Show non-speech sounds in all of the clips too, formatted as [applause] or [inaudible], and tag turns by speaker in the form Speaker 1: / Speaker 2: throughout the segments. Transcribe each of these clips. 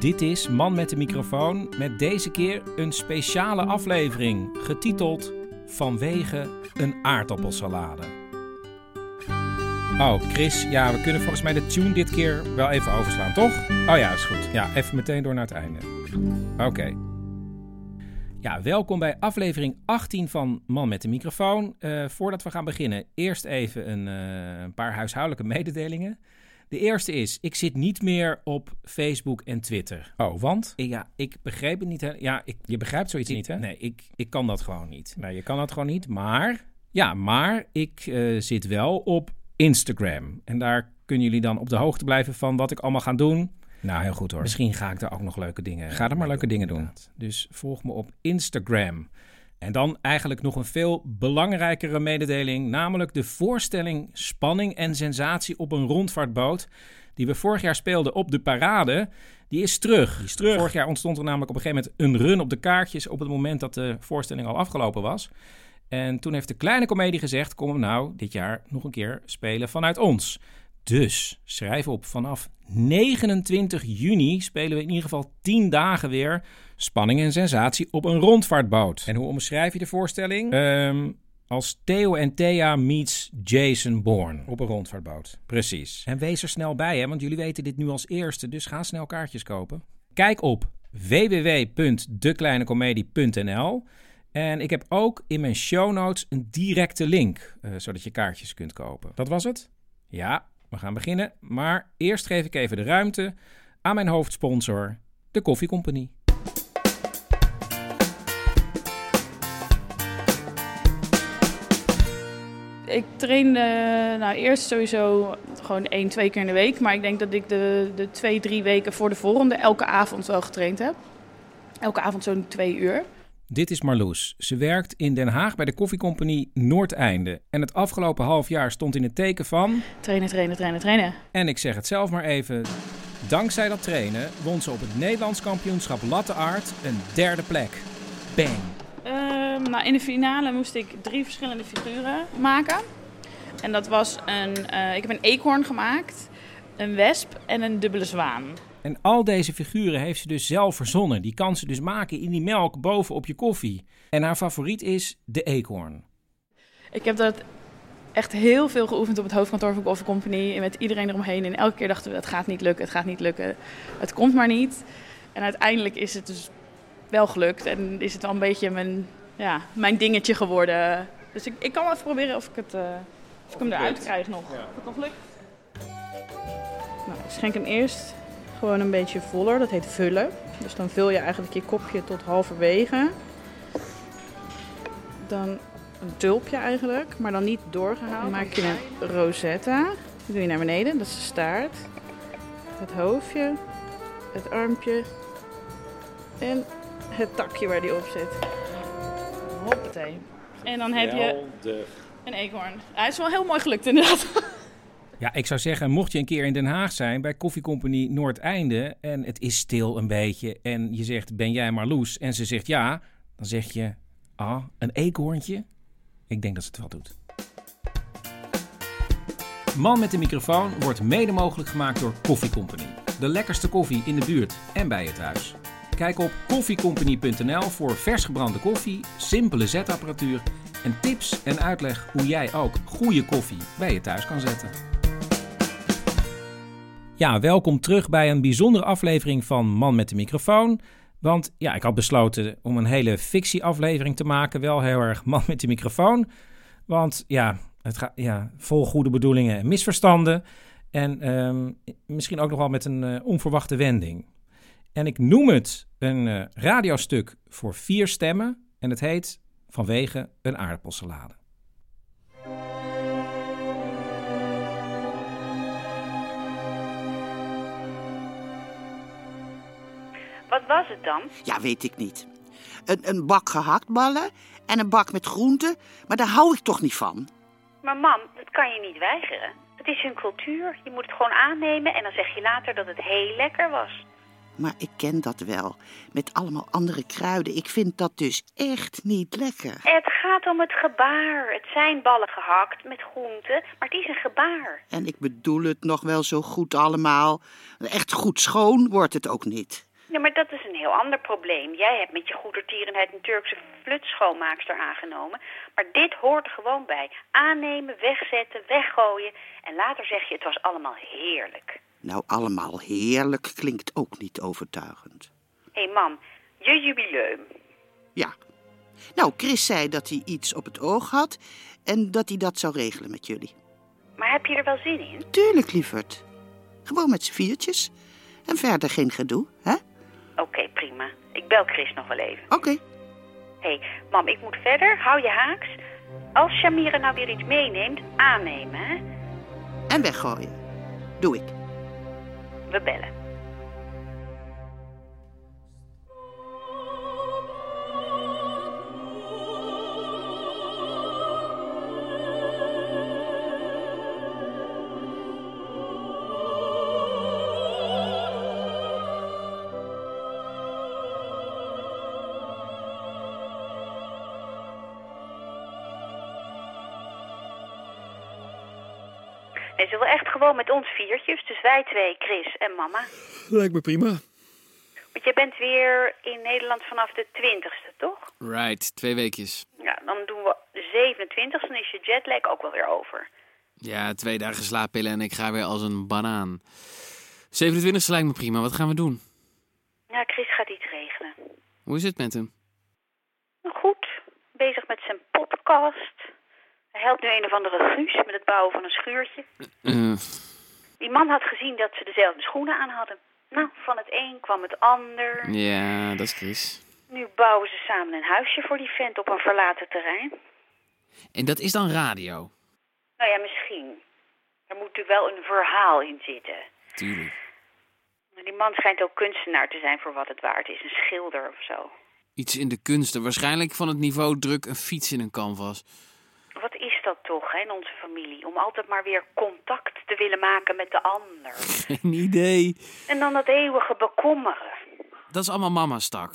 Speaker 1: Dit is Man met de microfoon met deze keer een speciale aflevering getiteld Vanwege een aardappelsalade. Oh, Chris, ja, we kunnen volgens mij de tune dit keer wel even overslaan, toch? Oh ja, is goed. Ja, even meteen door naar het einde. Oké. Ja, welkom bij aflevering 18 van Man met de microfoon. Eh, voordat we gaan beginnen, eerst even een eh, een paar huishoudelijke mededelingen. De eerste is, ik zit niet meer op Facebook en Twitter. Oh, want? Ja, ik begreep het niet. Hè? Ja, ik, je begrijpt zoiets niet, hè? Nee, ik, ik kan dat gewoon niet. Nee, je kan dat gewoon niet, maar... Ja, maar ik eh, zit wel op Instagram. En daar kunnen jullie dan op de hoogte blijven van wat ik allemaal ga doen. Nou, heel goed hoor. Misschien ga ik daar ook nog leuke dingen Ga er maar leuke dingen doen. Dus volg me op Instagram. En dan eigenlijk nog een veel belangrijkere mededeling, namelijk de voorstelling Spanning en Sensatie op een rondvaartboot, die we vorig jaar speelden op de parade, die is terug. Vorig jaar ontstond er namelijk op een gegeven moment een run op de kaartjes op het moment dat de voorstelling al afgelopen was. En toen heeft de kleine komedie gezegd, kom hem nou dit jaar nog een keer spelen vanuit ons. Dus schrijf op, vanaf 29 juni spelen we in ieder geval 10 dagen weer spanning en sensatie op een rondvaartboot. En hoe omschrijf je de voorstelling? Ehm, als Theo en Thea meets Jason Bourne op een rondvaartboot. Precies. En wees er snel bij, hè, want jullie weten dit nu als eerste, dus ga snel kaartjes kopen. Kijk op www.dekleinecomedie.nl en ik heb ook in mijn show notes een directe link, eh, zodat je kaartjes kunt kopen. Dat was het? Ja, we gaan beginnen. Maar eerst geef ik even de ruimte aan mijn hoofdsponsor, de Koffie Company.
Speaker 2: Ik trainde nou, eerst sowieso gewoon één, twee keer in de week. Maar ik denk dat ik de, de twee, drie weken voor de volgende elke avond wel getraind heb. Elke avond zo'n twee uur.
Speaker 1: Dit is Marloes. Ze werkt in Den Haag bij de koffiecompagnie Noordeinde. En het afgelopen half jaar stond in het teken van...
Speaker 2: Trainen, trainen, trainen, trainen.
Speaker 1: En ik zeg het zelf maar even. Dankzij dat trainen won ze op het Nederlands kampioenschap Latte Art een derde plek. Bang.
Speaker 2: Ehm, nou, in de finale moest ik drie verschillende figuren maken. En dat was een... eh, ik heb een eekhoorn gemaakt, een wesp en een dubbele zwaan.
Speaker 1: En al deze figuren heeft ze dus zelf verzonnen. Die kan ze dus maken in die melk boven op je koffie. En haar favoriet is de eekhoorn.
Speaker 2: Ik heb dat echt heel veel geoefend op het hoofdkantoor van Coffee Company. En met iedereen eromheen. En elke keer dachten we, het gaat niet lukken, het gaat niet lukken. Het komt maar niet. En uiteindelijk is het dus wel gelukt. En is het wel een beetje mijn, ja, mijn dingetje geworden. Dus ik, ik kan wel even proberen of ik, het, eh, of ik hem eruit krijg nog. Of het nog lukt. Nou, ik schenk hem eerst gewoon een beetje voller. Dat heet vullen. Dus dan vul je eigenlijk je kopje tot halverwege. Dan een tulpje eigenlijk, maar dan niet doorgehaald. Dan maak je een rosetta. Die doe je naar beneden, dat is de staart. Het hoofdje, het armpje en het takje waar die op zit. Hoppatee. En dan heb je een eekhoorn. Hij is wel heel mooi gelukt inderdaad.
Speaker 1: Ja, ik zou zeggen, mocht je een keer in Den Haag zijn bij koffiecompagnie Noordeinde... en het is stil een beetje en je zegt, ben jij Marloes? En ze zegt ja, dan zeg je, ah, een eekhoorntje? Ik denk dat ze het wel doet. Man met de microfoon wordt mede mogelijk gemaakt door Koffie Company. De lekkerste koffie in de buurt en bij je thuis. Kijk op koffiecompany.nl voor vers gebrande koffie, simpele zetapparatuur... en tips en uitleg hoe jij ook goede koffie bij je thuis kan zetten. Ja, welkom terug bij een bijzondere aflevering van Man met de microfoon. Want ja, ik had besloten om een hele fictieaflevering te maken. Wel heel erg [laughs] Man met de microfoon. Want ja, het gaat ja, vol goede bedoelingen en misverstanden. En ehm, misschien ook nog wel met een eh, onverwachte wending. En ik noem het een eh, radiostuk voor vier stemmen. En het heet Vanwege een aardappelsalade.
Speaker 3: Wat was het dan?
Speaker 4: Ja, weet ik niet. Een, een bak gehaktballen en een bak met groenten, maar daar hou ik toch niet van.
Speaker 3: Maar mam, dat kan je niet weigeren. Het is hun cultuur. Je moet het gewoon aannemen en dan zeg je later dat het heel lekker was.
Speaker 4: Maar ik ken dat wel, met allemaal andere kruiden. Ik vind dat dus echt niet lekker.
Speaker 3: Het gaat om het gebaar. Het zijn ballen gehakt met groenten, maar het is een gebaar.
Speaker 4: En ik bedoel het nog wel zo goed allemaal. Echt goed schoon wordt het ook niet.
Speaker 3: Ja, maar dat is een heel ander probleem. Jij hebt met je goedertierenheid een Turkse flutschoonmaakster aangenomen. Maar dit hoort er gewoon bij. Aannemen, wegzetten, weggooien. En later zeg je het was allemaal heerlijk.
Speaker 4: Nou, allemaal heerlijk klinkt ook niet overtuigend.
Speaker 3: Hé hey, mam, je jubileum.
Speaker 4: Ja. Nou, Chris zei dat hij iets op het oog had en dat hij dat zou regelen met jullie.
Speaker 3: Maar heb je er wel zin in?
Speaker 4: Tuurlijk, lieverd. Gewoon met z'n viertjes. En verder geen gedoe, hè?
Speaker 3: Oké, prima. Ik bel Chris nog wel even.
Speaker 4: Oké.
Speaker 3: Hé, mam, ik moet verder. Hou je haaks. Als Shamira nou weer iets meeneemt, aannemen, hè?
Speaker 4: En weggooien. Doe ik.
Speaker 3: We bellen. Nee, ze wil echt gewoon met ons viertjes, dus wij twee, Chris en mama.
Speaker 5: Lijkt me prima.
Speaker 3: Want jij bent weer in Nederland vanaf de 20ste, toch?
Speaker 5: Right, twee weekjes.
Speaker 3: Ja, dan doen we de 27 e dan is je jetlag ook wel weer over.
Speaker 5: Ja, twee dagen slaappillen en ik ga weer als een banaan. 27 lijkt me prima. Wat gaan we doen?
Speaker 3: Ja, Chris gaat iets regelen.
Speaker 5: Hoe is het met hem?
Speaker 3: Nou, Goed, bezig met zijn podcast. Hij helpt nu een of andere Guus met het bouwen van een schuurtje.
Speaker 5: Eh,
Speaker 3: Die man had gezien dat ze dezelfde schoenen aan hadden. Nou, van het een kwam het ander.
Speaker 5: ja, dat is Chris.
Speaker 3: Nu bouwen ze samen een huisje voor die vent op een verlaten terrein.
Speaker 5: En dat is dan radio.
Speaker 3: Nou ja, misschien. Er moet natuurlijk wel een verhaal in zitten.
Speaker 5: Tuurlijk.
Speaker 3: Maar die man schijnt ook kunstenaar te zijn voor wat het waard is. Een schilder of zo.
Speaker 5: Iets in de kunsten. Waarschijnlijk van het niveau druk een fiets in een canvas.
Speaker 3: Wat is dat toch hè, in onze familie? Om altijd maar weer contact te willen maken met de ander.
Speaker 5: [laughs] Geen idee.
Speaker 3: En dan dat eeuwige bekommeren.
Speaker 5: Dat is allemaal mama's tak.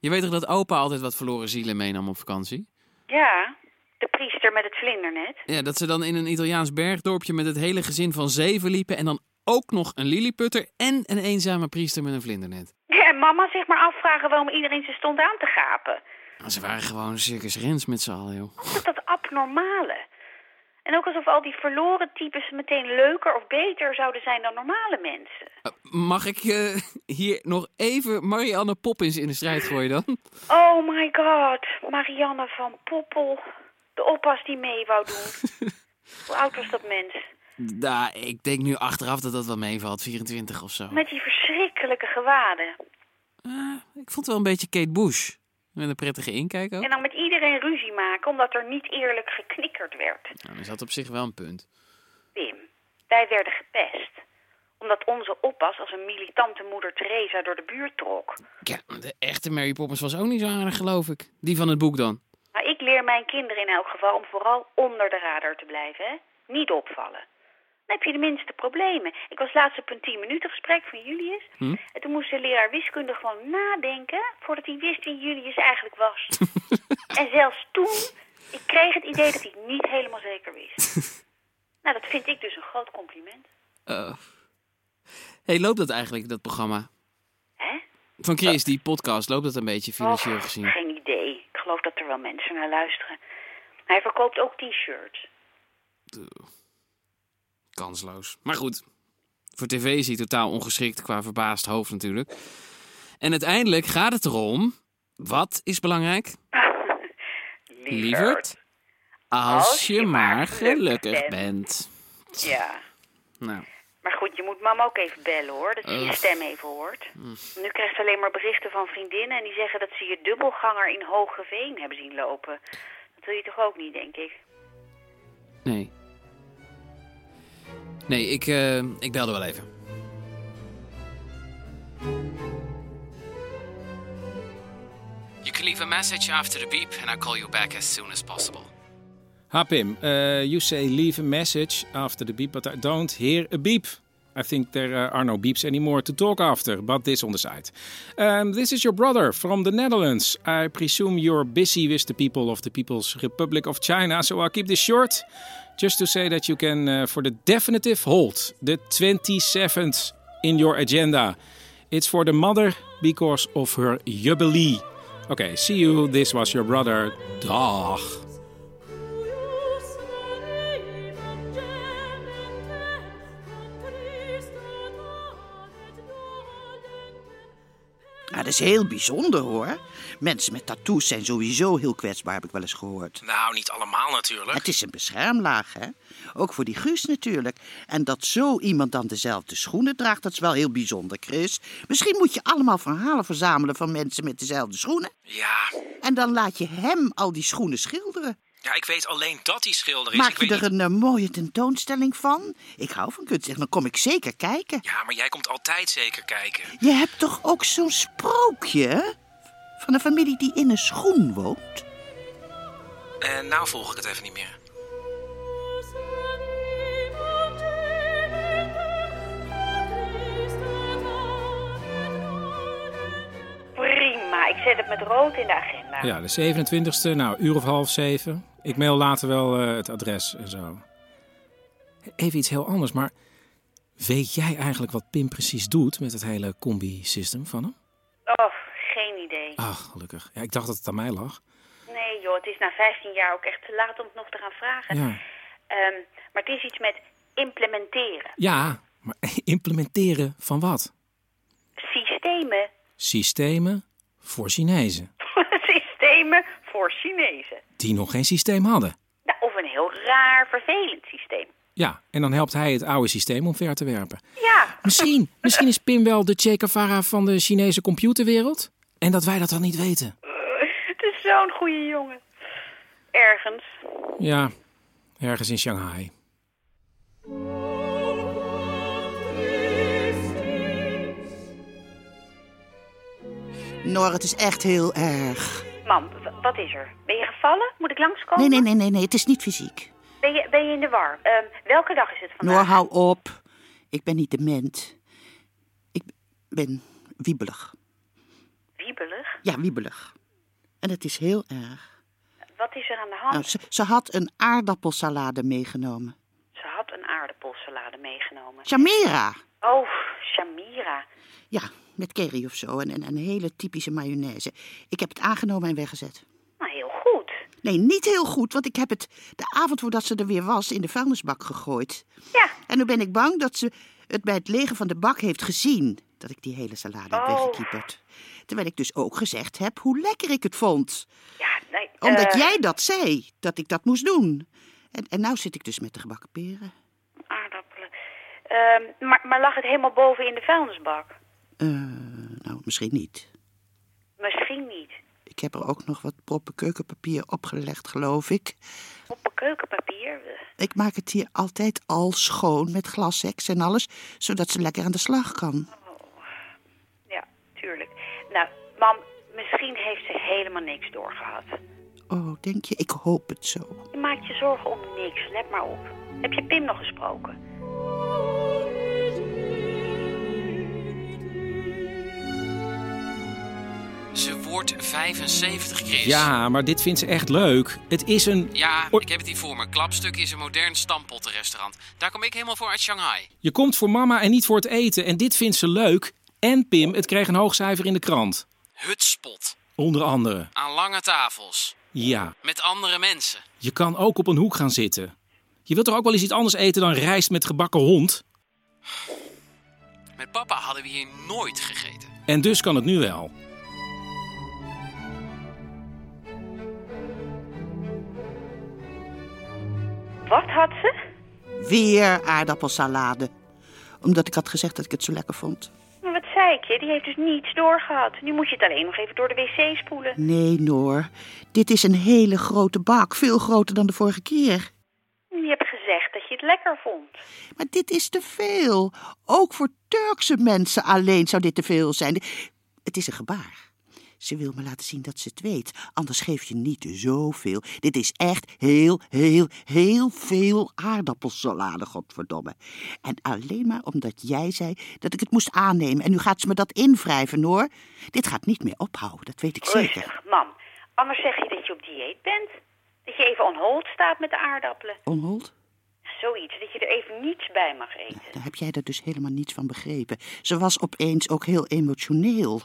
Speaker 5: Je weet toch dat opa altijd wat verloren zielen meenam op vakantie?
Speaker 3: Ja, de priester met het vlindernet.
Speaker 5: Ja, dat ze dan in een Italiaans bergdorpje met het hele gezin van zeven liepen... en dan ook nog een lilliputter en een eenzame priester met een vlindernet.
Speaker 3: Ja, en mama zich maar afvragen waarom iedereen ze stond aan te gapen.
Speaker 5: Maar ze waren gewoon circus rens met z'n allen, joh.
Speaker 3: Altijd dat abnormale. En ook alsof al die verloren types meteen leuker of beter zouden zijn dan normale mensen.
Speaker 5: Eh, Mag ik eh, hier nog even Marianne Poppins in de strijd gooien dan?
Speaker 3: Oh my god, Marianne van Poppel. De oppas die mee wou doen. Hoe oud was dat mens?
Speaker 5: Nou, ik denk nu achteraf dat dat wel meevalt, 24 of zo.
Speaker 3: Met die verschrikkelijke gewaden.
Speaker 5: Eh, ik vond het wel een beetje Kate Bush. Met een prettige inkijk ook.
Speaker 3: En dan met iedereen ruzie maken omdat er niet eerlijk geknikkerd werd.
Speaker 5: Nou, is dat op zich wel een punt.
Speaker 3: Wim, wij werden gepest. Omdat onze oppas als een militante moeder Teresa door de buurt trok.
Speaker 5: Ja, de echte Mary Poppins was ook niet zo aardig, geloof ik. Die van het boek dan.
Speaker 3: Maar ik leer mijn kinderen in elk geval om vooral onder de radar te blijven, hè? Niet opvallen. Dan heb je de minste problemen. Ik was laatst op een 10 minuten gesprek van Julius.
Speaker 5: Hm?
Speaker 3: En toen moest de leraar wiskunde gewoon nadenken voordat hij wist wie Julius eigenlijk
Speaker 5: [laughs]
Speaker 3: was. en zelfs toen, ik kreeg het idee dat hij het niet helemaal zeker wist.
Speaker 5: [laughs]
Speaker 3: nou, dat vind ik dus een groot compliment.
Speaker 5: Eh. hey, loopt dat eigenlijk, dat programma?
Speaker 3: Hè?
Speaker 5: Van Chris, die podcast, loopt dat een beetje financieel
Speaker 3: Och,
Speaker 5: gezien?
Speaker 3: Geen idee. Ik geloof dat er wel mensen naar luisteren. Hij verkoopt [laughs] ook t-shirts.
Speaker 5: Kansloos. Maar goed, Voor tv is hij totaal ongeschikt qua verbaasd hoofd natuurlijk. En uiteindelijk gaat het erom, wat is belangrijk? Lieverd, als je maar gelukkig bent.
Speaker 3: Ja.
Speaker 5: Nou,
Speaker 3: Maar goed, je moet mama ook even bellen hoor, dat ze je
Speaker 5: Ugh.
Speaker 3: stem even hoort.
Speaker 5: Mm.
Speaker 3: Nu krijgt ze alleen maar berichten van vriendinnen en die zeggen dat ze je dubbelganger in Hogeveen hebben zien lopen. Dat wil je toch ook niet, denk ik?
Speaker 5: nee. Nee, ik, eh, ik belde wel even. You can leave a message after the beep and I'll call you back as soon as possible.
Speaker 1: Ha Pim, uh, you say leave a message after the beep, but I don't hear a beep. I think there uh, are no beeps anymore to talk after, but this on the side. Um, this is your brother from the Netherlands. I presume you're busy with the people of the People's Republic of China, so I'll keep this short. Just to say that you can, uh, for the definitive, hold the 27th in your agenda. It's for the mother because of her jubilee. Okay, see you. This was your brother. Dag.
Speaker 4: Nou, dat is heel bijzonder hoor. Mensen met tattoos zijn sowieso heel kwetsbaar, heb ik wel eens gehoord.
Speaker 5: Nou, niet allemaal natuurlijk.
Speaker 4: Het is een beschermlaag, hè? Ook voor die Guus natuurlijk. En dat zo iemand dan dezelfde schoenen draagt, dat is wel heel bijzonder, Chris. Misschien moet je allemaal verhalen verzamelen van mensen met dezelfde schoenen.
Speaker 5: Ja.
Speaker 4: En dan laat je hem al die schoenen schilderen.
Speaker 5: Ja, ik weet alleen dat hij schilder
Speaker 4: Maak je er een eh, mooie tentoonstelling van? Ik hou van kunst, zeg, dan kom ik zeker kijken.
Speaker 5: Ja, maar jij komt altijd zeker kijken.
Speaker 4: Je hebt toch ook zo'n sprookje hè? van een familie die in een schoen woont?
Speaker 5: En nou volg ik het even niet meer.
Speaker 3: Prima, ik zet het met rood in de agenda.
Speaker 1: Ja, de 27e, nou, uur of half zeven. Ik mail later wel eh, het adres en zo. Even iets heel anders, maar weet jij eigenlijk wat Pim precies doet met het hele combi-system van hem?
Speaker 3: Oh, geen idee.
Speaker 1: Ach, Ah, gelukkig. Ja, ik dacht dat het aan mij lag.
Speaker 3: Nee joh, het is na 15 jaar ook echt te laat om het nog te gaan vragen.
Speaker 1: Ja,
Speaker 3: Ehm, maar het is iets met implementeren.
Speaker 1: ja maar [laughs] implementeren van wat?
Speaker 3: Systemen. [laughs]
Speaker 1: Systemen voor Chinezen,
Speaker 3: Systemen voor Chinezen.
Speaker 1: die nog geen systeem hadden.
Speaker 3: Nou, of een heel raar, vervelend systeem.
Speaker 1: Ja, en dan helpt hij het oude systeem omver te werpen.
Speaker 3: Ja,
Speaker 1: Misschien, misschien is Pim wel de Che Guevara van de Chinese computerwereld. En dat wij dat dan niet weten.
Speaker 3: [laughs] het is zo'n goede jongen. Ergens.
Speaker 1: Ja, ergens in Shanghai.
Speaker 4: Nor, het is echt heel erg.
Speaker 3: Mam, w- wat is er? Ben je gevallen? Moet ik langskomen?
Speaker 4: Nee, nee, nee, nee, nee, het is niet fysiek.
Speaker 3: Ben je, ben je in de war? Ehm, welke dag is het
Speaker 4: Noor,
Speaker 3: vandaag?
Speaker 4: hou op. Ik ben niet dement. Ik ben wiebelig.
Speaker 3: Wiebelig?
Speaker 4: Ja, wiebelig. En het is heel erg.
Speaker 3: Wat is er aan de hand?
Speaker 4: Nou, ze, ze had een aardappelsalade meegenomen.
Speaker 3: Ze had een aardappelsalade meegenomen.
Speaker 4: Shamira!
Speaker 3: Oh, Shamira.
Speaker 4: Ja, met curry of zo en, en een hele typische mayonaise. Ik heb het aangenomen en weggezet.
Speaker 3: Nou, heel goed.
Speaker 4: Nee, niet heel goed, want ik heb het de avond voordat ze er weer was in de vuilnisbak gegooid.
Speaker 3: Ja.
Speaker 4: En nu ben ik bang dat ze het bij het legen van de bak heeft gezien dat ik die hele salade heb
Speaker 3: Oh.
Speaker 4: weggekieperd. Terwijl ik dus ook gezegd heb hoe lekker ik het vond.
Speaker 3: Ja, nee.
Speaker 4: Omdat
Speaker 3: eh,
Speaker 4: jij dat zei, dat ik dat moest doen. En, en nou zit ik dus met de gebakken peren.
Speaker 3: Aardappelen. Ehm, maar, maar lag het helemaal boven in de vuilnisbak?
Speaker 4: Eh, nou, misschien niet.
Speaker 3: Misschien niet.
Speaker 4: Ik heb er ook nog wat proppen keukenpapier opgelegd, geloof ik.
Speaker 3: Op een keukenpapier?
Speaker 4: Ik maak het hier altijd al schoon met glaseks en alles, zodat ze lekker aan de slag kan.
Speaker 3: Ja, tuurlijk. Nou, mam, misschien heeft ze helemaal niks doorgehad.
Speaker 4: Oh, denk je? Ik hoop het zo.
Speaker 3: Je maakt je zorgen om niks, let maar op. Heb je Pim nog gesproken?
Speaker 5: Ze wordt 75, Chris.
Speaker 1: Ja, maar dit vindt ze echt leuk. Het is een...
Speaker 5: Ja,
Speaker 1: Oei.
Speaker 5: ik heb het hier voor me. Klapstuk is een modern stampottenrestaurant. Daar kom ik helemaal voor uit Shanghai.
Speaker 1: Je komt voor mama en niet voor het eten. En dit vindt ze leuk. En Pim, het kreeg een hoog cijfer in de krant.
Speaker 5: Hutspot.
Speaker 1: Onder andere.
Speaker 5: Aan lange tafels.
Speaker 1: Ja,
Speaker 5: Met andere mensen.
Speaker 1: je kan ook op een hoek gaan zitten. Je wilt toch ook wel eens iets anders eten dan rijst met gebakken hond?
Speaker 5: Met papa hadden we hier nooit gegeten.
Speaker 1: En dus kan het nu wel.
Speaker 3: Wat had ze?
Speaker 4: Weer aardappelsalade. Omdat ik had gezegd dat ik het zo lekker vond.
Speaker 3: Maar wat zei ik je? Die heeft dus niets doorgehad. Nu moet je het alleen nog even door de wc spoelen.
Speaker 4: Nee, Noor. Dit is een hele grote bak. Veel groter dan de vorige keer.
Speaker 3: Je hebt gezegd dat je het lekker vond.
Speaker 4: Maar dit is te veel. Ook voor Turkse mensen alleen zou dit te veel zijn. Het is een gebaar. Ze wil me laten zien dat ze het weet. Anders geef je niet zoveel. Dit is echt heel, heel, heel veel aardappelsalade, godverdomme. En alleen maar omdat jij zei dat ik het moest aannemen. En nu gaat ze me dat invrijven, hoor. Dit gaat niet meer ophouden, dat weet ik zeker.
Speaker 3: Rustig, mam. Anders zeg je dat je op dieet bent. Dat je even on hold staat met de aardappelen.
Speaker 4: Onhold?
Speaker 3: Zoiets, dat je er even niets bij mag eten.
Speaker 4: Daar heb jij er dus helemaal niets van begrepen. Ze was opeens ook heel emotioneel.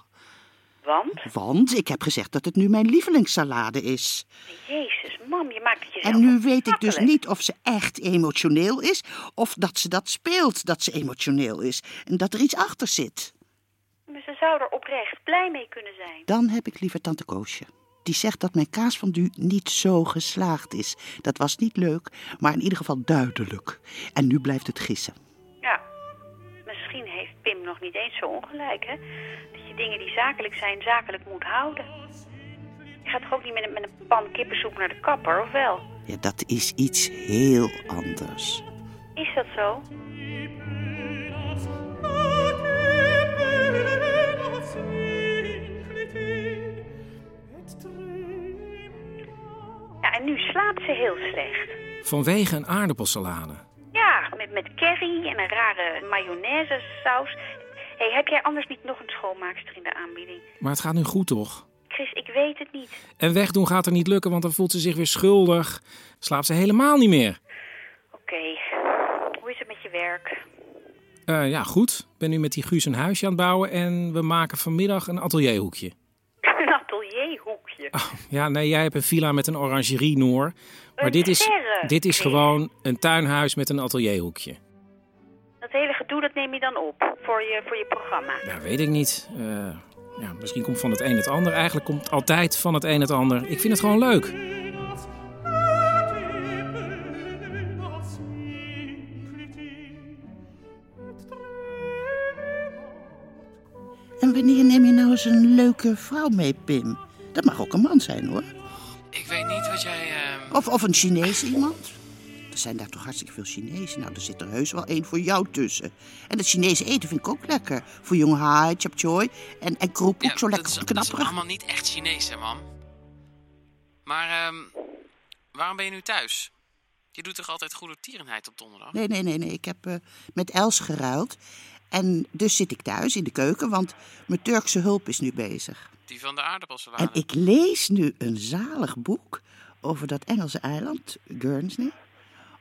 Speaker 3: Want,
Speaker 4: Want ik heb gezegd dat het nu mijn lievelingssalade is.
Speaker 3: jezus, mam, je maakt het jezelf
Speaker 4: En nu weet ik dus
Speaker 3: ongemakkelijk.
Speaker 4: niet of ze echt emotioneel is. of dat ze dat speelt dat ze emotioneel is. en dat er iets achter zit.
Speaker 3: Maar ze zou er oprecht blij mee kunnen zijn.
Speaker 4: Dan heb ik liever Tante Koosje. Die zegt dat mijn kaasfondue niet zo geslaagd is. Dat was niet leuk, maar in ieder geval duidelijk. En nu blijft het gissen.
Speaker 3: Ja, misschien heeft Pim nog niet eens zo ongelijk, hè? Dat je dingen die zakelijk zijn, zakelijk moet houden. Je gaat toch ook niet met een, met een pan kippensoep naar de kapper, of wel?
Speaker 4: Ja, dat is iets heel anders.
Speaker 3: Is dat zo? Ja, en nu slaapt ze heel slecht.
Speaker 1: Vanwege een aardappelsalade.
Speaker 3: Ja, met, met curry en een rare mayonaise saus. hey, heb jij anders niet nog een schoonmaakster in de aanbieding?
Speaker 1: Maar het gaat nu goed, toch?
Speaker 3: Chris, ik weet het niet.
Speaker 1: En wegdoen gaat er niet lukken, want dan voelt ze zich weer schuldig. Slaapt ze helemaal niet meer.
Speaker 3: Oké, hoe is het met je werk? [laughs]
Speaker 1: Eh, ja, goed. Ik ben nu met die Guus een huisje aan het bouwen en we maken vanmiddag een atelierhoekje.
Speaker 3: Een atelierhoekje.
Speaker 1: Ja, nee, jij hebt een villa met een orangerie, Noor. Maar dit is,
Speaker 3: verre.
Speaker 1: dit is
Speaker 3: Nee.
Speaker 1: gewoon een tuinhuis met een atelierhoekje.
Speaker 3: Dat hele gedoe, dat neem je dan op voor je, voor je programma.
Speaker 1: Ja, weet ik niet. Eh, ja, misschien komt van het een het ander. Eigenlijk komt altijd van het een het ander. Ik vind het gewoon leuk.
Speaker 4: En wanneer neem je nou eens een leuke vrouw mee, Pim? Dat mag ook een man zijn, hoor.
Speaker 5: Ik weet niet wat jij. ehm,
Speaker 4: Of, of een Chinees iemand. Er zijn daar toch hartstikke veel Chinezen. Nou, er zit er heus wel één voor jou tussen. En dat Chinese eten vind ik ook lekker. Voor jong hai, chap choy en, en kroep ook
Speaker 5: ja,
Speaker 4: zo
Speaker 5: dat,
Speaker 4: lekker
Speaker 5: is, dat is
Speaker 4: knapperig.
Speaker 5: allemaal niet echt Chinees, hè, mam? Maar ehm, waarom ben je nu thuis? Je doet toch altijd goede tierenheid op donderdag?
Speaker 4: Nee, nee, nee, nee. Ik heb eh, met Els geruild. En dus zit ik thuis in de keuken, want mijn Turkse hulp is nu bezig.
Speaker 5: Die van de aardappelsalade.
Speaker 4: En ik lees nu een zalig boek over dat Engelse eiland, Guernsey.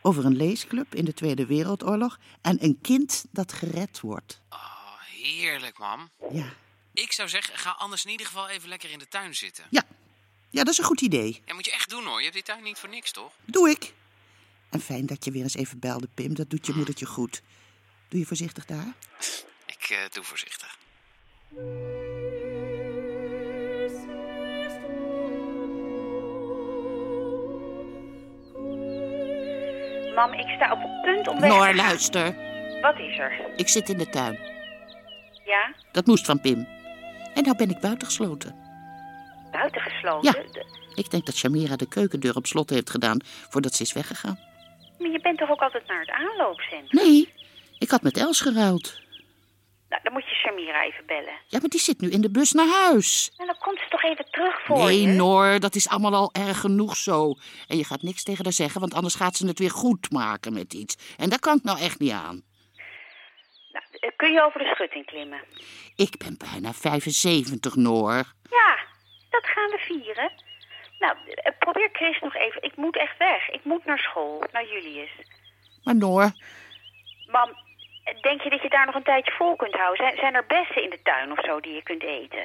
Speaker 4: Over een leesclub in de Tweede Wereldoorlog. En een kind dat gered wordt.
Speaker 5: Oh, heerlijk, mam.
Speaker 4: Ja,
Speaker 5: Ik zou zeggen, ga anders in ieder geval even lekker in de tuin zitten.
Speaker 4: ja. ja dat is een goed idee.
Speaker 5: Ja, moet je echt doen hoor. Je hebt die tuin niet voor niks, toch?
Speaker 4: Doe ik. En fijn dat je weer eens even belde, Pim. Dat doet je moedertje goed. Doe je voorzichtig daar.
Speaker 5: Ik eh, doe voorzichtig.
Speaker 3: Mam, ik sta op het punt om weg te
Speaker 4: Noor,
Speaker 3: gaan.
Speaker 4: luister.
Speaker 3: Wat is er?
Speaker 4: Ik zit in de tuin.
Speaker 3: Ja,
Speaker 4: Dat moest van Pim. En nou ben ik buitengesloten.
Speaker 3: buitengesloten.
Speaker 4: Ja.
Speaker 3: De-
Speaker 4: Ik denk dat Shamira de keukendeur op slot heeft gedaan voordat ze is weggegaan.
Speaker 3: Maar je bent toch ook altijd naar het aanloopcentrum?
Speaker 4: Nee, ik had met Els geruild.
Speaker 3: Nou, dan moet je Shamira even bellen.
Speaker 4: Ja, maar die zit nu in de bus naar huis.
Speaker 3: En dan komt ze toch even terug voor
Speaker 4: nee,
Speaker 3: je?
Speaker 4: Noor, dat is allemaal al erg genoeg zo. En je gaat niks tegen haar zeggen, want anders gaat ze het weer goed maken met iets. En daar kan ik nou echt niet aan.
Speaker 3: Nou, eh, kun je over de schutting klimmen?
Speaker 4: Ik ben bijna 75, Noor.
Speaker 3: Ja, dat gaan we vieren. Nou, eh, probeer Chris nog even. Ik moet echt weg. Ik moet naar school, naar Julius.
Speaker 4: Maar Noor,
Speaker 3: Mam, eh, denk je dat je daar nog een tijdje vol kunt houden? Zijn, zijn er bessen in de tuin of zo die je kunt eten?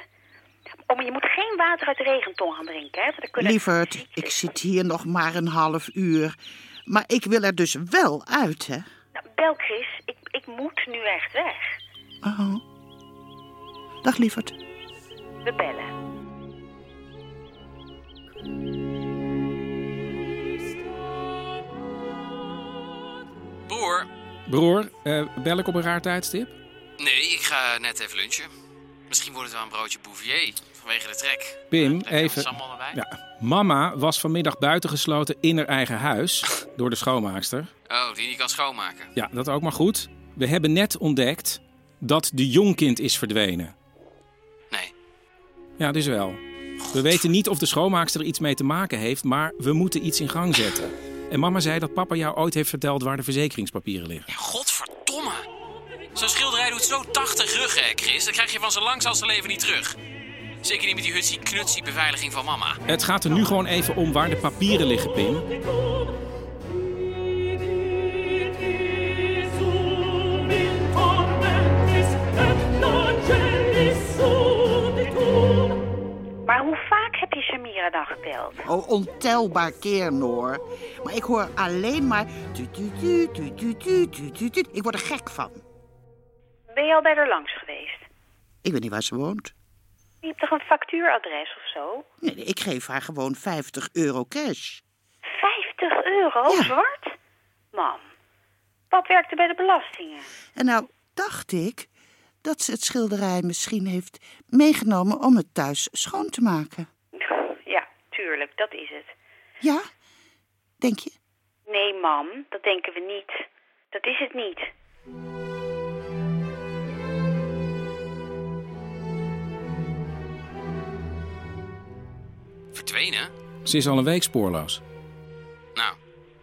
Speaker 3: Oh, maar je moet geen water uit de regenton gaan drinken, hè? Want dan kunnen
Speaker 4: lieverd, ik zit hier nog maar een half uur. Maar ik wil er dus wel uit, hè?
Speaker 3: Nou, bel Chris, ik, ik moet nu echt weg.
Speaker 4: Oh. Dag lieverd.
Speaker 3: We bellen.
Speaker 5: Broer?
Speaker 1: Broer, eh, bel ik op een raar tijdstip?
Speaker 5: Nee, ik ga net even lunchen. Misschien wordt het wel een broodje Bouvier vanwege de trek.
Speaker 1: Pim,
Speaker 5: Lekker
Speaker 1: even.
Speaker 5: sambal erbij.
Speaker 1: Ja. Mama was vanmiddag buitengesloten in haar eigen huis door de schoonmaakster.
Speaker 5: Oh, die niet kan schoonmaken.
Speaker 1: Ja, dat ook maar goed. We hebben net ontdekt dat de jongkind is verdwenen.
Speaker 5: Nee.
Speaker 1: Ja, dus wel. We weten niet of de schoonmaakster er iets mee te maken heeft, maar we moeten iets in gang zetten. En mama zei dat papa jou ooit heeft verteld waar de verzekeringspapieren liggen.
Speaker 5: Godverdomme. Zo'n schilderij doet zo 80 rug, hè, Chris. Dat krijg je van zo lang als leven niet terug. Zeker niet met die hutsie knutsie beveiliging van mama.
Speaker 1: Het gaat er nu gewoon even om waar de papieren liggen, Pim.
Speaker 3: Maar hoe vaak heb je Shamira dan gebeld?
Speaker 4: Oh, ontelbaar keer, Noor. Maar ik hoor alleen maar... tu, tu, tu, tu, tu, tu, tu, tu, tu. Ik word er gek van.
Speaker 3: Ben je al bij haar langs geweest?
Speaker 4: Ik weet niet waar ze woont.
Speaker 3: Je hebt toch een factuuradres of zo?
Speaker 4: Nee, nee, ik geef haar gewoon 50 euro cash.
Speaker 3: 50 euro,
Speaker 4: Ja.
Speaker 3: zwart? Mam, pap werkte bij de belastingen.
Speaker 4: En nou dacht ik dat ze het schilderij misschien heeft meegenomen om het thuis schoon te maken.
Speaker 3: Ja, tuurlijk, dat is het.
Speaker 4: Ja? Denk je?
Speaker 3: Nee, mam, dat denken we niet. Dat is het niet.
Speaker 5: Verdwenen?
Speaker 1: Ze is al een week spoorloos.
Speaker 5: Nou,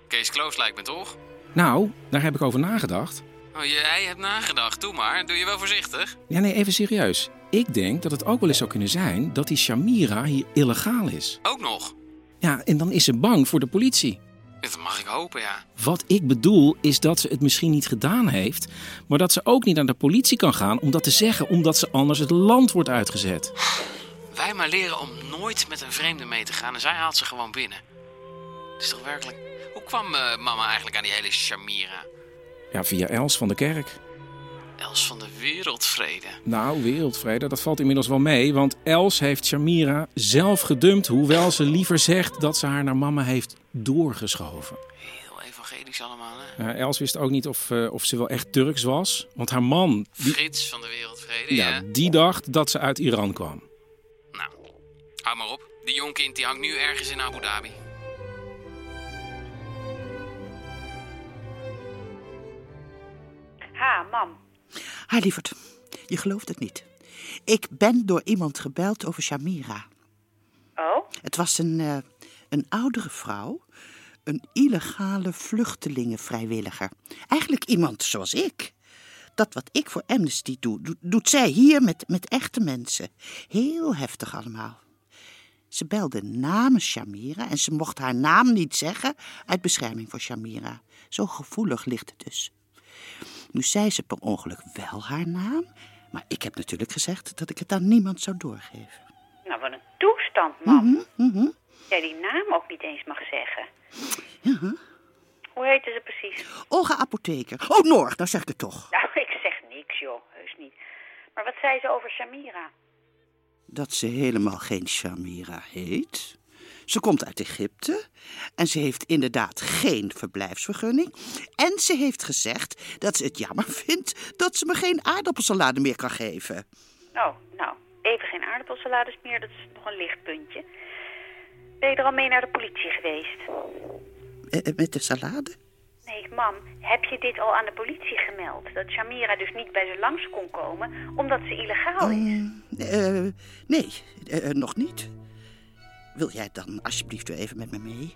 Speaker 5: Kees Kloos lijkt me toch?
Speaker 1: Nou, daar heb ik over nagedacht.
Speaker 5: Oh, jij hebt nagedacht. Doe maar. Doe je wel voorzichtig.
Speaker 1: Ja, nee, even serieus. Ik denk dat het ook wel eens zou kunnen zijn dat die Shamira hier illegaal is.
Speaker 5: Ook nog.
Speaker 1: Ja, en dan is ze bang voor de politie.
Speaker 5: Dat mag ik hopen, ja.
Speaker 1: Wat ik bedoel is dat ze het misschien niet gedaan heeft, maar dat ze ook niet aan de politie kan gaan om dat te zeggen, omdat ze anders het land wordt uitgezet.
Speaker 5: Wij maar leren om nooit met een vreemde mee te gaan en zij haalt ze gewoon binnen. Het is toch werkelijk... Hoe kwam eh, mama eigenlijk aan die hele Shamira?
Speaker 1: Ja, via Els van de Kerk.
Speaker 5: Els van de wereldvrede.
Speaker 1: Nou, wereldvrede, dat valt inmiddels wel mee, want Els heeft Shamira zelf gedumpt, hoewel ze liever zegt dat ze haar naar mama heeft doorgeschoven.
Speaker 5: Heel evangelisch allemaal, hè?
Speaker 1: Eh, Els wist ook niet of, eh, of ze wel echt Turks was, want haar man, die,
Speaker 5: Frits van de wereldvrede, ja.
Speaker 1: ja, die dacht dat ze uit Iran kwam.
Speaker 5: Nou, hou maar op. Die jongkind die hangt nu ergens in Abu Dhabi.
Speaker 3: Ha, mam.
Speaker 4: Haar lieverd, je gelooft het niet. Ik ben door iemand gebeld over Shamira.
Speaker 3: Oh?
Speaker 4: Het was een, eh, een oudere vrouw, een illegale vluchtelingenvrijwilliger. Eigenlijk iemand zoals ik. Dat wat ik voor Amnesty doe, doet- doet zij hier met, met echte mensen. Heel heftig allemaal. Ze belde namens Shamira en ze mocht haar naam niet zeggen uit bescherming voor Shamira. Zo gevoelig ligt het dus. Nu zei ze per ongeluk wel haar naam, maar ik heb natuurlijk gezegd dat ik het aan niemand zou doorgeven.
Speaker 3: Nou, wat een toestand, mam.
Speaker 4: Mhm.
Speaker 3: Jij die naam ook niet eens mag zeggen. Hoe heette ze precies?
Speaker 4: Olga Apotheker. Oh, Noor, daar zeg ik het toch.
Speaker 3: Nou, [laughs] ik zeg niks, joh. Heus niet. Maar wat zei ze over Shamira?
Speaker 4: Dat ze helemaal geen Shamira heet. Ze komt uit Egypte en ze heeft inderdaad geen verblijfsvergunning. En ze heeft gezegd dat ze het jammer [laughs] vindt dat ze me geen aardappelsalade meer kan geven.
Speaker 3: Oh, nou, even geen aardappelsalades meer. Dat is nog een lichtpuntje. Ben je er al mee naar de politie geweest?
Speaker 4: Eh, eh, met de salade?
Speaker 3: Nee, mam, heb je dit al aan de politie gemeld? Dat Shamira dus niet bij ze langs kon komen, omdat ze illegaal is.
Speaker 4: Eh, nee, eh, eh, nog niet. Wil jij dan alsjeblieft weer even met me mee?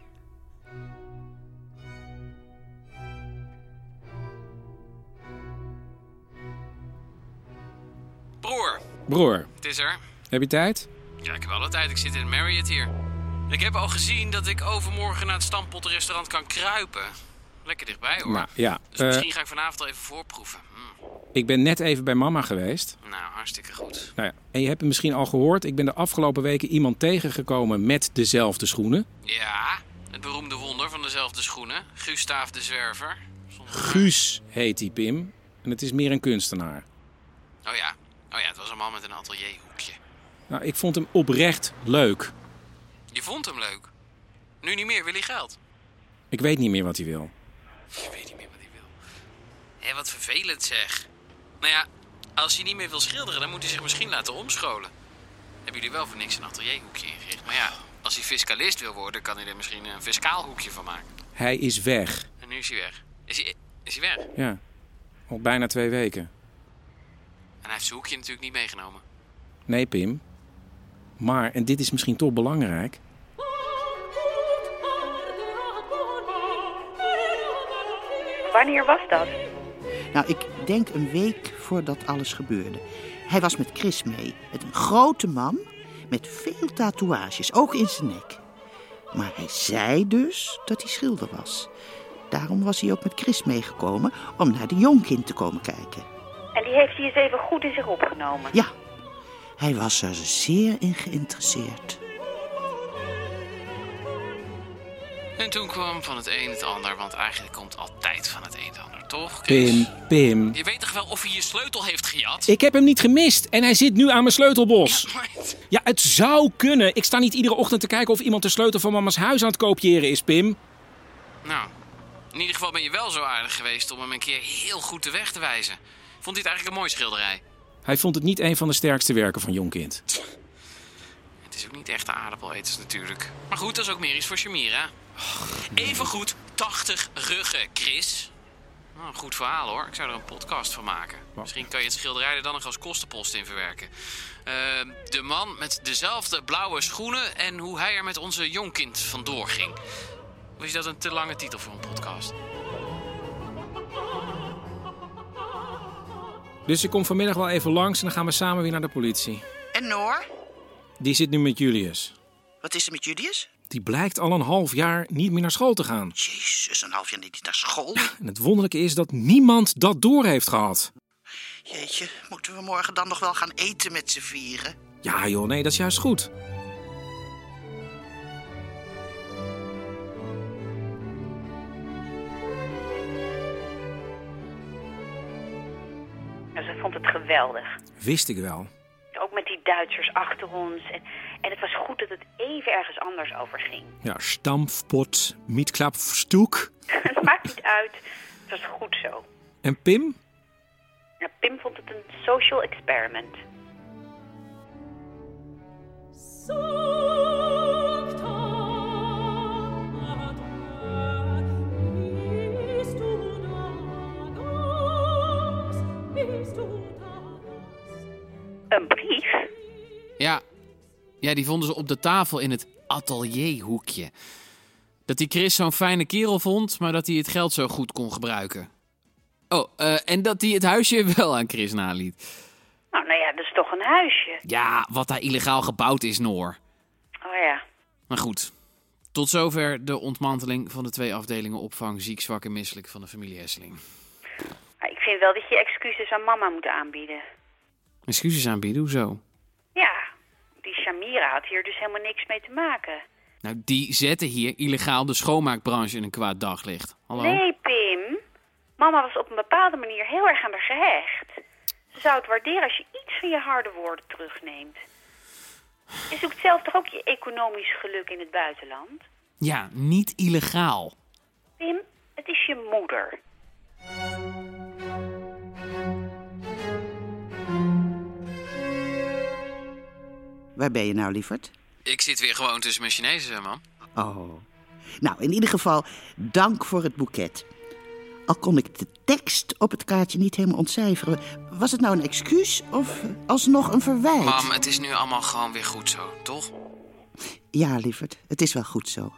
Speaker 5: Broer,
Speaker 1: Broer,
Speaker 5: het is er.
Speaker 1: heb je tijd?
Speaker 5: Ja, ik heb alle tijd. Ik zit in Marriott hier. Ik heb al gezien dat ik overmorgen naar het stampottenrestaurant kan kruipen. Lekker dichtbij, hoor.
Speaker 1: Nou, ja.
Speaker 5: Dus
Speaker 1: eh,
Speaker 5: misschien ga ik vanavond al even voorproeven. Hm,
Speaker 1: ik ben net even bij mama geweest.
Speaker 5: nou, hartstikke goed.
Speaker 1: Nou ja, en je hebt het misschien al gehoord, ik ben de afgelopen weken iemand tegengekomen met dezelfde schoenen.
Speaker 5: Ja, het beroemde wonder van dezelfde schoenen. Gustaaf de Zwerver. Zonder-
Speaker 1: Guus heet die Pim en het is meer een kunstenaar.
Speaker 5: Oh ja, oh ja het was een man met een atelierhoekje.
Speaker 1: Nou, ik vond hem oprecht leuk.
Speaker 5: Je vond hem leuk. Nu niet meer, wil hij geld.
Speaker 1: Ik weet niet meer wat hij wil.
Speaker 5: Ik weet niet meer wat hij wil. Hé, wat vervelend zeg. Nou ja, als hij niet meer wil schilderen, dan moet hij zich misschien laten omscholen. Hebben jullie wel voor niks een atelierhoekje ingericht. Maar ja, als hij fiscalist wil worden, kan hij er misschien een fiscaal hoekje van maken.
Speaker 1: Hij is weg.
Speaker 5: En nu is hij weg. Is hij, is hij weg? En
Speaker 1: Ja, al bijna twee weken.
Speaker 5: hij heeft zijn hoekje natuurlijk niet meegenomen.
Speaker 1: Nee, Pim. Maar, en dit is misschien toch belangrijk.
Speaker 3: Wanneer was dat?
Speaker 4: Nou, ik denk een week voordat alles gebeurde. Hij was met Chris mee. Het een grote man met veel tatoeages, ook in zijn nek. Maar hij zei dus dat hij schilder was. Daarom was hij ook met Chris meegekomen om naar de jongkind te komen kijken.
Speaker 3: En die heeft hij eens even goed in zich opgenomen.
Speaker 4: Ja, hij was er zeer in geïnteresseerd.
Speaker 5: En toen kwam van het een het ander, want eigenlijk komt altijd van het een het ander, toch? Chris?
Speaker 1: Pim, Pim.
Speaker 5: Je weet toch wel of hij je sleutel heeft gejat?
Speaker 1: Ik heb hem niet gemist en hij zit nu aan mijn sleutelbos.
Speaker 5: Maar
Speaker 1: Ja, het zou kunnen. Ik sta niet iedere ochtend te kijken of iemand de sleutel van mama's huis aan het kopiëren is, Pim.
Speaker 5: Nou, in ieder geval ben je wel zo aardig geweest om hem een keer heel goed de weg te wijzen. Vond hij het eigenlijk een mooi schilderij?
Speaker 1: Hij vond het niet een van de sterkste werken van Jongkind.
Speaker 5: Het is ook niet echt de aardappeleters natuurlijk. Maar goed, dat is ook meer iets voor Shamira. Even goed 80 ruggen, Chris. Nou, een goed verhaal hoor. Ik zou er een podcast van maken. Misschien kan je het schilderij er dan nog als kostenpost in verwerken. Ehm, de man met dezelfde blauwe schoenen en hoe hij er met onze jongkind vandoor ging. Of is dat een te lange titel voor een podcast?
Speaker 1: Dus ik kom vanmiddag wel even langs en dan gaan we samen weer naar de politie.
Speaker 4: En Noor?
Speaker 1: Die zit nu met Julius.
Speaker 4: Wat is er met Julius?
Speaker 1: Die blijkt al een half jaar niet meer naar school te gaan.
Speaker 4: Jezus, een half jaar niet naar school.
Speaker 1: En het wonderlijke is dat niemand dat door heeft gehad.
Speaker 4: Jeetje, moeten we morgen dan nog wel gaan eten met z'n vieren?
Speaker 1: Ja joh, nee, dat is juist goed.
Speaker 3: En Nou, ze vond het geweldig.
Speaker 1: Wist ik wel.
Speaker 3: Ook met die Duitsers achter ons. En, en het was goed dat het even ergens anders over ging. [laughs]
Speaker 1: Ja, stampfpot, mietklapstuk.
Speaker 3: het maakt niet uit. Het was goed zo.
Speaker 1: En Pim?
Speaker 3: Nou, Pim vond het een social experiment. Een brief?
Speaker 5: Ja. ja, die vonden ze op de tafel in het atelierhoekje. Dat die Chris zo'n fijne kerel vond, maar dat hij het geld zo goed kon gebruiken. Oh, eh, en dat hij het huisje [laughs] wel aan Chris naliet.
Speaker 3: Nou, nou ja, dat is toch een huisje.
Speaker 5: Ja, wat daar illegaal gebouwd is, Noor.
Speaker 3: Oh ja.
Speaker 5: Maar goed, tot zover de ontmanteling van de twee afdelingen opvang ziek, zwak en misselijk van de familie Hesseling.
Speaker 3: Maar ik vind wel dat je excuses aan mama moet aanbieden.
Speaker 5: Excuses aanbieden, hoezo?
Speaker 3: Ja, die Shamira had hier dus helemaal niks mee te maken.
Speaker 5: Nou, die zetten hier illegaal de schoonmaakbranche in een kwaad daglicht. Hallo?
Speaker 3: Nee, Pim. Mama was op een bepaalde manier heel erg aan haar gehecht. Ze zou het waarderen als je iets van je harde woorden terugneemt. Je zoekt zelf toch ook je economisch geluk in het buitenland?
Speaker 5: Ja, niet illegaal.
Speaker 3: Pim, het is je moeder.
Speaker 4: Waar ben je nou, lieverd?
Speaker 5: Ik zit weer gewoon tussen mijn Chinezen, man.
Speaker 4: Oh. Nou, in ieder geval, dank voor het boeket. Al kon ik de tekst op het kaartje niet helemaal ontcijferen. Was het nou een excuus of alsnog een verwijt?
Speaker 5: Mam, het is nu allemaal gewoon weer goed zo, toch?
Speaker 4: Ja, lieverd, het is wel goed zo.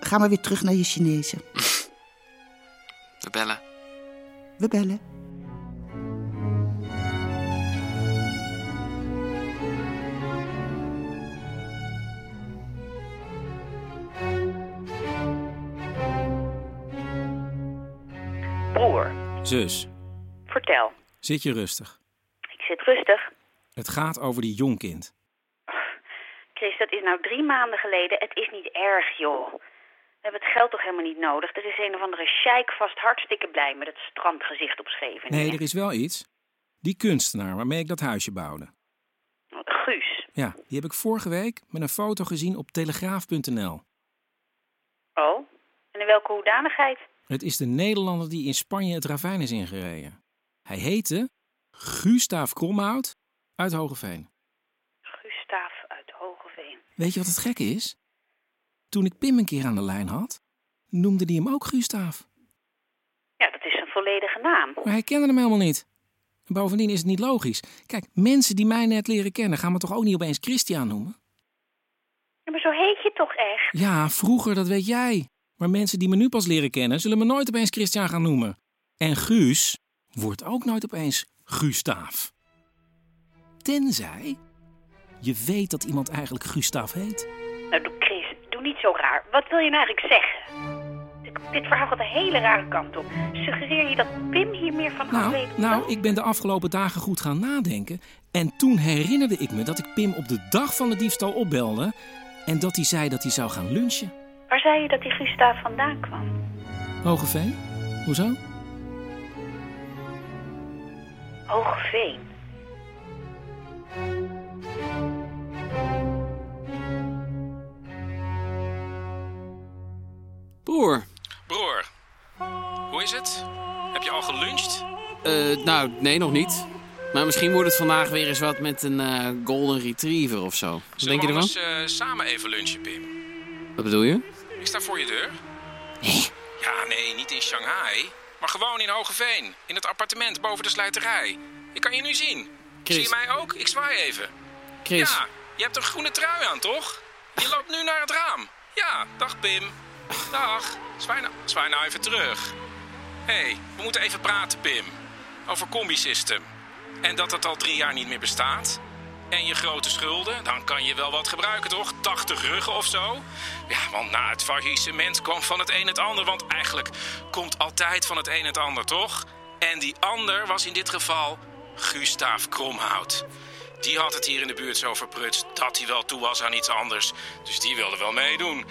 Speaker 4: Ga maar weer terug naar je Chinezen.
Speaker 5: [laughs] We bellen.
Speaker 4: We bellen.
Speaker 3: Broer,
Speaker 1: Zus,
Speaker 3: vertel.
Speaker 1: zit je rustig.
Speaker 3: Ik zit rustig.
Speaker 1: Het gaat over die Jongkind.
Speaker 3: Chris, dat is nou drie maanden geleden. Het is niet erg, joh. We hebben het geld toch helemaal niet nodig? Er is een of andere sheik vast hartstikke blij met het strandgezicht op Scheveningen.
Speaker 1: Nee, er is wel iets. Die kunstenaar waarmee ik dat huisje bouwde.
Speaker 3: Guus.
Speaker 1: Ja, die heb ik vorige week met een foto gezien op telegraaf.nl.
Speaker 3: Oh, en in welke hoedanigheid?
Speaker 1: Het is de Nederlander die in Spanje het ravijn is ingereden. Hij heette Gustav Kromhout uit Hogeveen.
Speaker 3: Gustaaf uit Hogeveen.
Speaker 1: Weet je wat het gekke is? Toen ik Pim een keer aan de lijn had, noemde die hem ook Gustav.
Speaker 3: Ja, dat is een volledige naam.
Speaker 1: Maar hij kende hem helemaal niet. En bovendien is het niet logisch. Kijk, mensen die mij net leren kennen, gaan me toch ook niet opeens Christian noemen?
Speaker 3: Ja, maar zo heet je toch echt?
Speaker 1: Ja, vroeger, dat weet jij. Maar mensen die me nu pas leren kennen, zullen me nooit opeens Christian gaan noemen. En Guus wordt ook nooit opeens Gustaaf. Tenzij je weet dat iemand eigenlijk Gustaaf heet.
Speaker 3: Nou, doe, Chris, doe niet zo raar. Wat wil je nou eigenlijk zeggen? Dit- Dit verhaal gaat een hele rare kant op. Suggereer je dat Pim hier meer van af
Speaker 1: Nou,
Speaker 3: weet?
Speaker 1: nou, ik ben de afgelopen dagen goed gaan nadenken. En toen herinnerde ik me dat ik Pim op de dag van de diefstal opbelde. En dat hij zei dat hij zou gaan lunchen.
Speaker 3: Waar zei je dat die Gustaaf vandaan kwam?
Speaker 1: Hogeveen? Hoezo?
Speaker 3: Hogeveen.
Speaker 5: Broer. Broer. Hoe is het? Heb je al geluncht? nou, nee, nog niet. Maar misschien wordt het vandaag weer eens wat met een eh, golden retriever of zo. Wat denk je ervan?
Speaker 1: eh, samen even lunchen, Pim?
Speaker 5: Wat bedoel je?
Speaker 1: Ik sta voor je deur. Ja, nee, niet in Shanghai. Maar gewoon in Hogeveen. In het appartement boven de slijterij. Ik kan je nu zien.
Speaker 5: Chris.
Speaker 1: Zie je mij ook? Ik zwaai even.
Speaker 5: Chris.
Speaker 1: Ja, je hebt een groene trui aan, toch? Je loopt nu naar het raam. Ja, dag Pim. Dag. Zwaai nou, zwaai nou even terug. Hé, hey, we moeten even praten, Pim. Over combi-system. En dat het al drie jaar niet meer bestaat. En je grote schulden, dan kan je wel wat gebruiken, toch? 80 ruggen of zo? Ja, want na het faillissement kwam van het een het ander. Want eigenlijk komt altijd van het een het ander, toch? En die ander was in dit geval Gustaaf Kromhout. Die had het hier in de buurt zo verprutst dat hij wel toe was aan iets anders. Dus die wilde wel meedoen.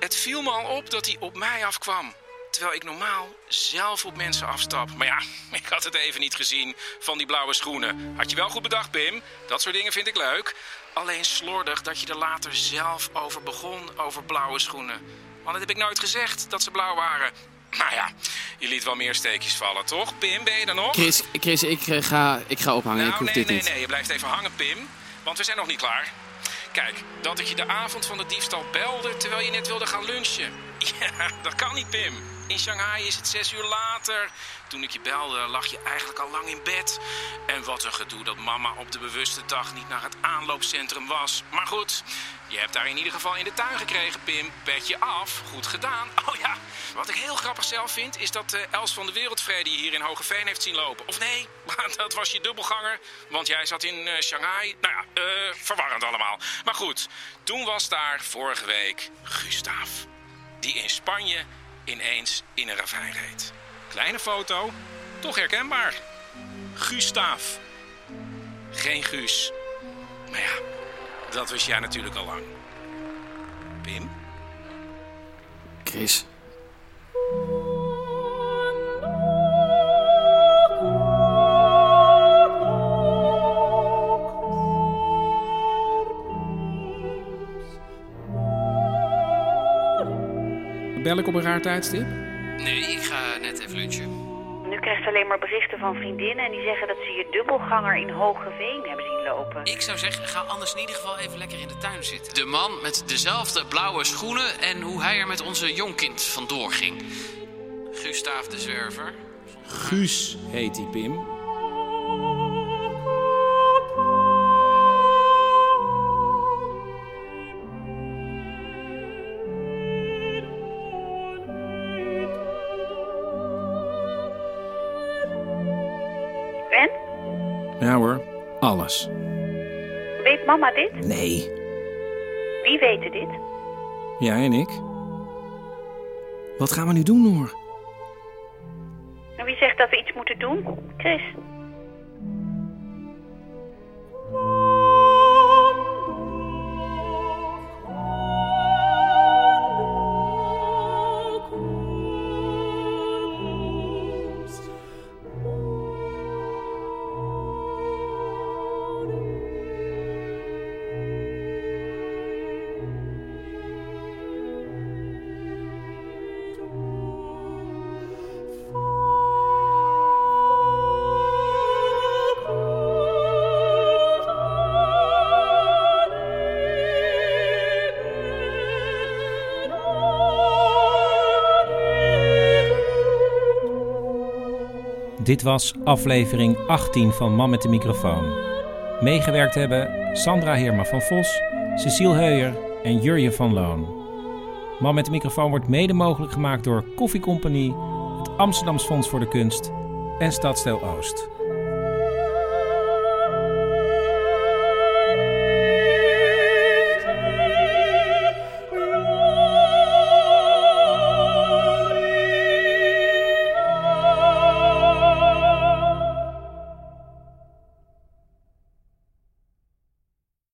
Speaker 1: Het viel me al op dat hij op mij afkwam. Terwijl ik normaal zelf op mensen afstap. Maar ja, [laughs] ik had het even niet gezien van die blauwe schoenen. Had je wel goed bedacht, Pim. Dat soort dingen vind ik leuk. Alleen slordig dat je er later zelf over begon, over blauwe schoenen. Want dat heb ik nooit gezegd, dat ze blauw waren. Nou ja, je liet wel meer steekjes vallen, toch? Pim, ben je er nog?
Speaker 5: Chris, Chris ik, eh, ga, ik ga ophangen. ik
Speaker 1: Nou,
Speaker 5: hoef
Speaker 1: nee,
Speaker 5: dit
Speaker 1: nee,
Speaker 5: niet.
Speaker 1: nee, je blijft even hangen, Pim. Want we zijn nog niet klaar. Kijk, dat ik je de avond van de diefstal belde terwijl je net wilde gaan lunchen. [laughs] Ja, dat kan niet, Pim. In Shanghai is het zes uur later. Toen ik je belde, lag je eigenlijk al lang in bed. En wat een gedoe dat mama op de bewuste dag niet naar het aanloopcentrum was. Maar goed, je hebt daar in ieder geval in de tuin gekregen, Pim. Petje af, goed gedaan. [laughs] Oh ja, wat ik heel grappig zelf vind, is dat eh, Els van de Wereldvrede je hier in Hogeveen heeft zien lopen. Of nee, [laughs] dat was je dubbelganger, want jij zat in eh, Shanghai. Nou ja, eh, verwarrend allemaal. Maar goed, toen was daar vorige week Gustaaf, die in Spanje ineens in een ravijn reed. Kleine foto, toch herkenbaar. Gustaaf. Geen Guus. Maar ja, dat wist jij natuurlijk al lang. Pim?
Speaker 5: Chris.
Speaker 1: Bel ik op een raar tijdstip?
Speaker 5: Nee, ik ga net even lunchen.
Speaker 3: Nu krijg je alleen maar berichten van vriendinnen... en die zeggen dat ze je dubbelganger in Hogeveen hebben zien lopen.
Speaker 5: Ik zou zeggen, ga anders in ieder geval even lekker in de tuin zitten. De man met dezelfde blauwe schoenen en hoe hij er met onze jongkind vandoor ging. Gustaaf de Zwerver.
Speaker 1: Guus heet die Pim.
Speaker 3: En?
Speaker 1: Ja hoor, alles.
Speaker 3: Weet mama dit?
Speaker 1: Nee.
Speaker 3: Wie weten dit?
Speaker 1: Jij en ik. Wat gaan we nu doen, Noor?
Speaker 3: En wie zegt dat we iets moeten doen? Chris.
Speaker 1: Dit was aflevering 18 van Man met de microfoon. Meegewerkt hebben Sandra Heerma van Vos, Cecile Heuier en Jurje van Loon. Man met de microfoon wordt mede mogelijk gemaakt door Koffie Compagnie, het Amsterdams Fonds voor de Kunst en Stadsdeel Oost.